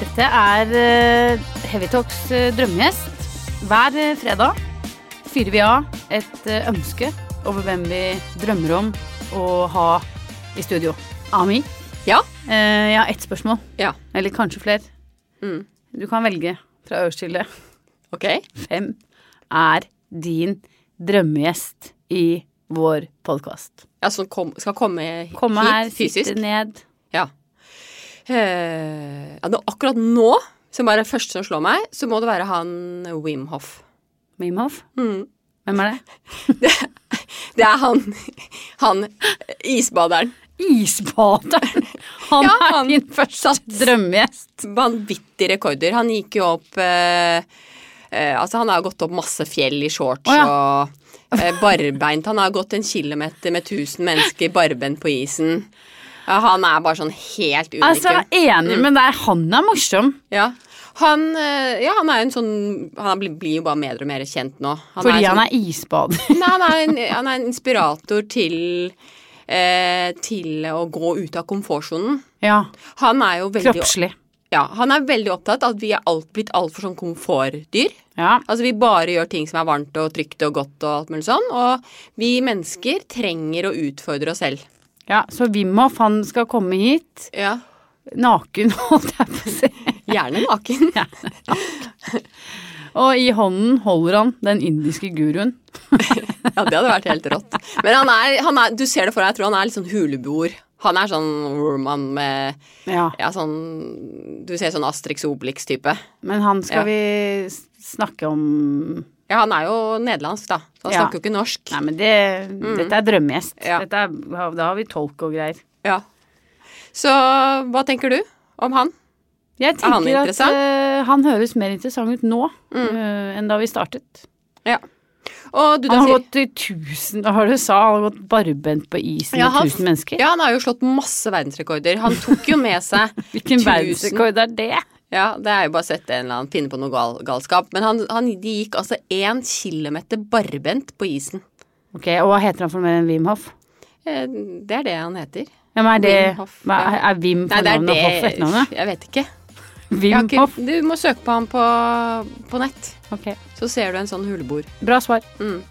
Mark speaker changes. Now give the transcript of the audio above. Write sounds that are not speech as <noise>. Speaker 1: Dette er eh, Heavytalks eh, drømmegjest. Hver eh, fredag fyrer vi av et eh, ønske over hvem vi drømmer om å ha i studio. Ami,
Speaker 2: Ja.
Speaker 1: eh, jeg har ett spørsmål.
Speaker 2: Ja.
Speaker 1: Eller kanskje flere.
Speaker 2: Mm.
Speaker 1: Du kan velge fra øverst til det.
Speaker 2: Ok.
Speaker 1: Hvem er din drømmegjest i vår podkast?
Speaker 2: Ja, som kom, skal komme,
Speaker 1: Komme
Speaker 2: hit
Speaker 1: her,
Speaker 2: fysisk?
Speaker 1: sitte ned.
Speaker 2: Ja. Eh, ja nå, akkurat nå, som bare er det første som slår meg, så må det være han Wim Hof.
Speaker 1: Mimhoff.
Speaker 2: Mm.
Speaker 1: Hvem er det?
Speaker 2: Det er han, <laughs> han isbaderen.
Speaker 1: Isbaderen! Han
Speaker 2: <laughs> Ja,
Speaker 1: er
Speaker 2: han
Speaker 1: din første drømmegjest.
Speaker 2: Vanvittige rekorder. Han gikk jo opp eh, eh, Altså, han har gått opp masse fjell i shorts
Speaker 1: Å,
Speaker 2: og eh, barbeint. Han har gått en kilometer med 1000 mennesker barbeint på isen. Ja, han er bare sånn helt unikum.
Speaker 1: Altså, jeg er enig
Speaker 2: Mm.
Speaker 1: med deg. Han er morsom.
Speaker 2: Ja. Han, eh, ja, han er jo en sånn Han blir, blir jo bare mer og mer kjent nå. Han
Speaker 1: Fordi
Speaker 2: er
Speaker 1: han
Speaker 2: sånn,
Speaker 1: er isbader.
Speaker 2: Nei, han er en, han er en inspirator til eh, Til å gå ut av komfortsonen.
Speaker 1: <laughs> Ja.
Speaker 2: Han er jo veldig
Speaker 1: Kroppslig.
Speaker 2: Ja, han er veldig opptatt av at vi er alt, blitt altfor sånn komfortdyr.
Speaker 1: Ja.
Speaker 2: Altså Vi bare gjør ting som er varmt og trygt og godt og alt mulig sånn. Og vi mennesker trenger å utfordre oss selv.
Speaker 1: ja. Så Wimhoff, han skal komme hit
Speaker 2: Ja,
Speaker 1: naken, <laughs> holdt jeg på å si.
Speaker 2: Gjerne naken.
Speaker 1: Og i hånden holder han den indiske guruen.
Speaker 2: Ja, det hadde vært helt rått. Men han er, han er du ser det for deg, jeg tror han er litt sånn huleboer. Han er sånn orman med
Speaker 1: Ja.
Speaker 2: Ja, sånn Du ser sånn Astrix Obelix-type.
Speaker 1: Men han skal
Speaker 2: Ja.
Speaker 1: vi s- snakke om
Speaker 2: Ja, han er jo nederlandsk, da. Så han
Speaker 1: Ja.
Speaker 2: snakker jo ikke norsk.
Speaker 1: Nei, men det, dette er drømmegjest.
Speaker 2: Mm. Ja.
Speaker 1: Dette er, da har vi tolk og greier.
Speaker 2: Ja. Så hva tenker du om han?
Speaker 1: Jeg
Speaker 2: Er han
Speaker 1: tenker at
Speaker 2: interessant? Mm.
Speaker 1: eh, han høres mer interessant ut nå eh, enn da vi startet.
Speaker 2: Ja. Og du, da
Speaker 1: Han har
Speaker 2: sier
Speaker 1: gått i tusen Hva var det du sa? Han har gått barbent på isen
Speaker 2: Ja,
Speaker 1: med
Speaker 2: han-
Speaker 1: tusen mennesker?
Speaker 2: Ja, han har jo slått masse verdensrekorder. Han tok jo med seg <laughs>
Speaker 1: Hvilken
Speaker 2: 1000.
Speaker 1: verdensrekord er det?
Speaker 2: Ja, det er jo bare å sette en eller annen finne på noe gal, galskap. Men han, han, de gikk altså én kilometer barbent på isen.
Speaker 1: Ok, Og hva heter han for noe mer enn Wim Hoff?
Speaker 2: Eh, Det er det han heter.
Speaker 1: Hvem er det?
Speaker 2: Wim Hof,
Speaker 1: Hva,
Speaker 2: ja.
Speaker 1: er- er Wim
Speaker 2: Nei, det er
Speaker 1: fornavnet og Hoff
Speaker 2: det
Speaker 1: etternavnet?
Speaker 2: Jeg vet ikke. Jeg har
Speaker 1: Wim Hoff.
Speaker 2: ikke du må søke på han på, på nett.
Speaker 1: Ok,
Speaker 2: Så ser du en sånn huleboer.
Speaker 1: Bra svar.
Speaker 2: Mm.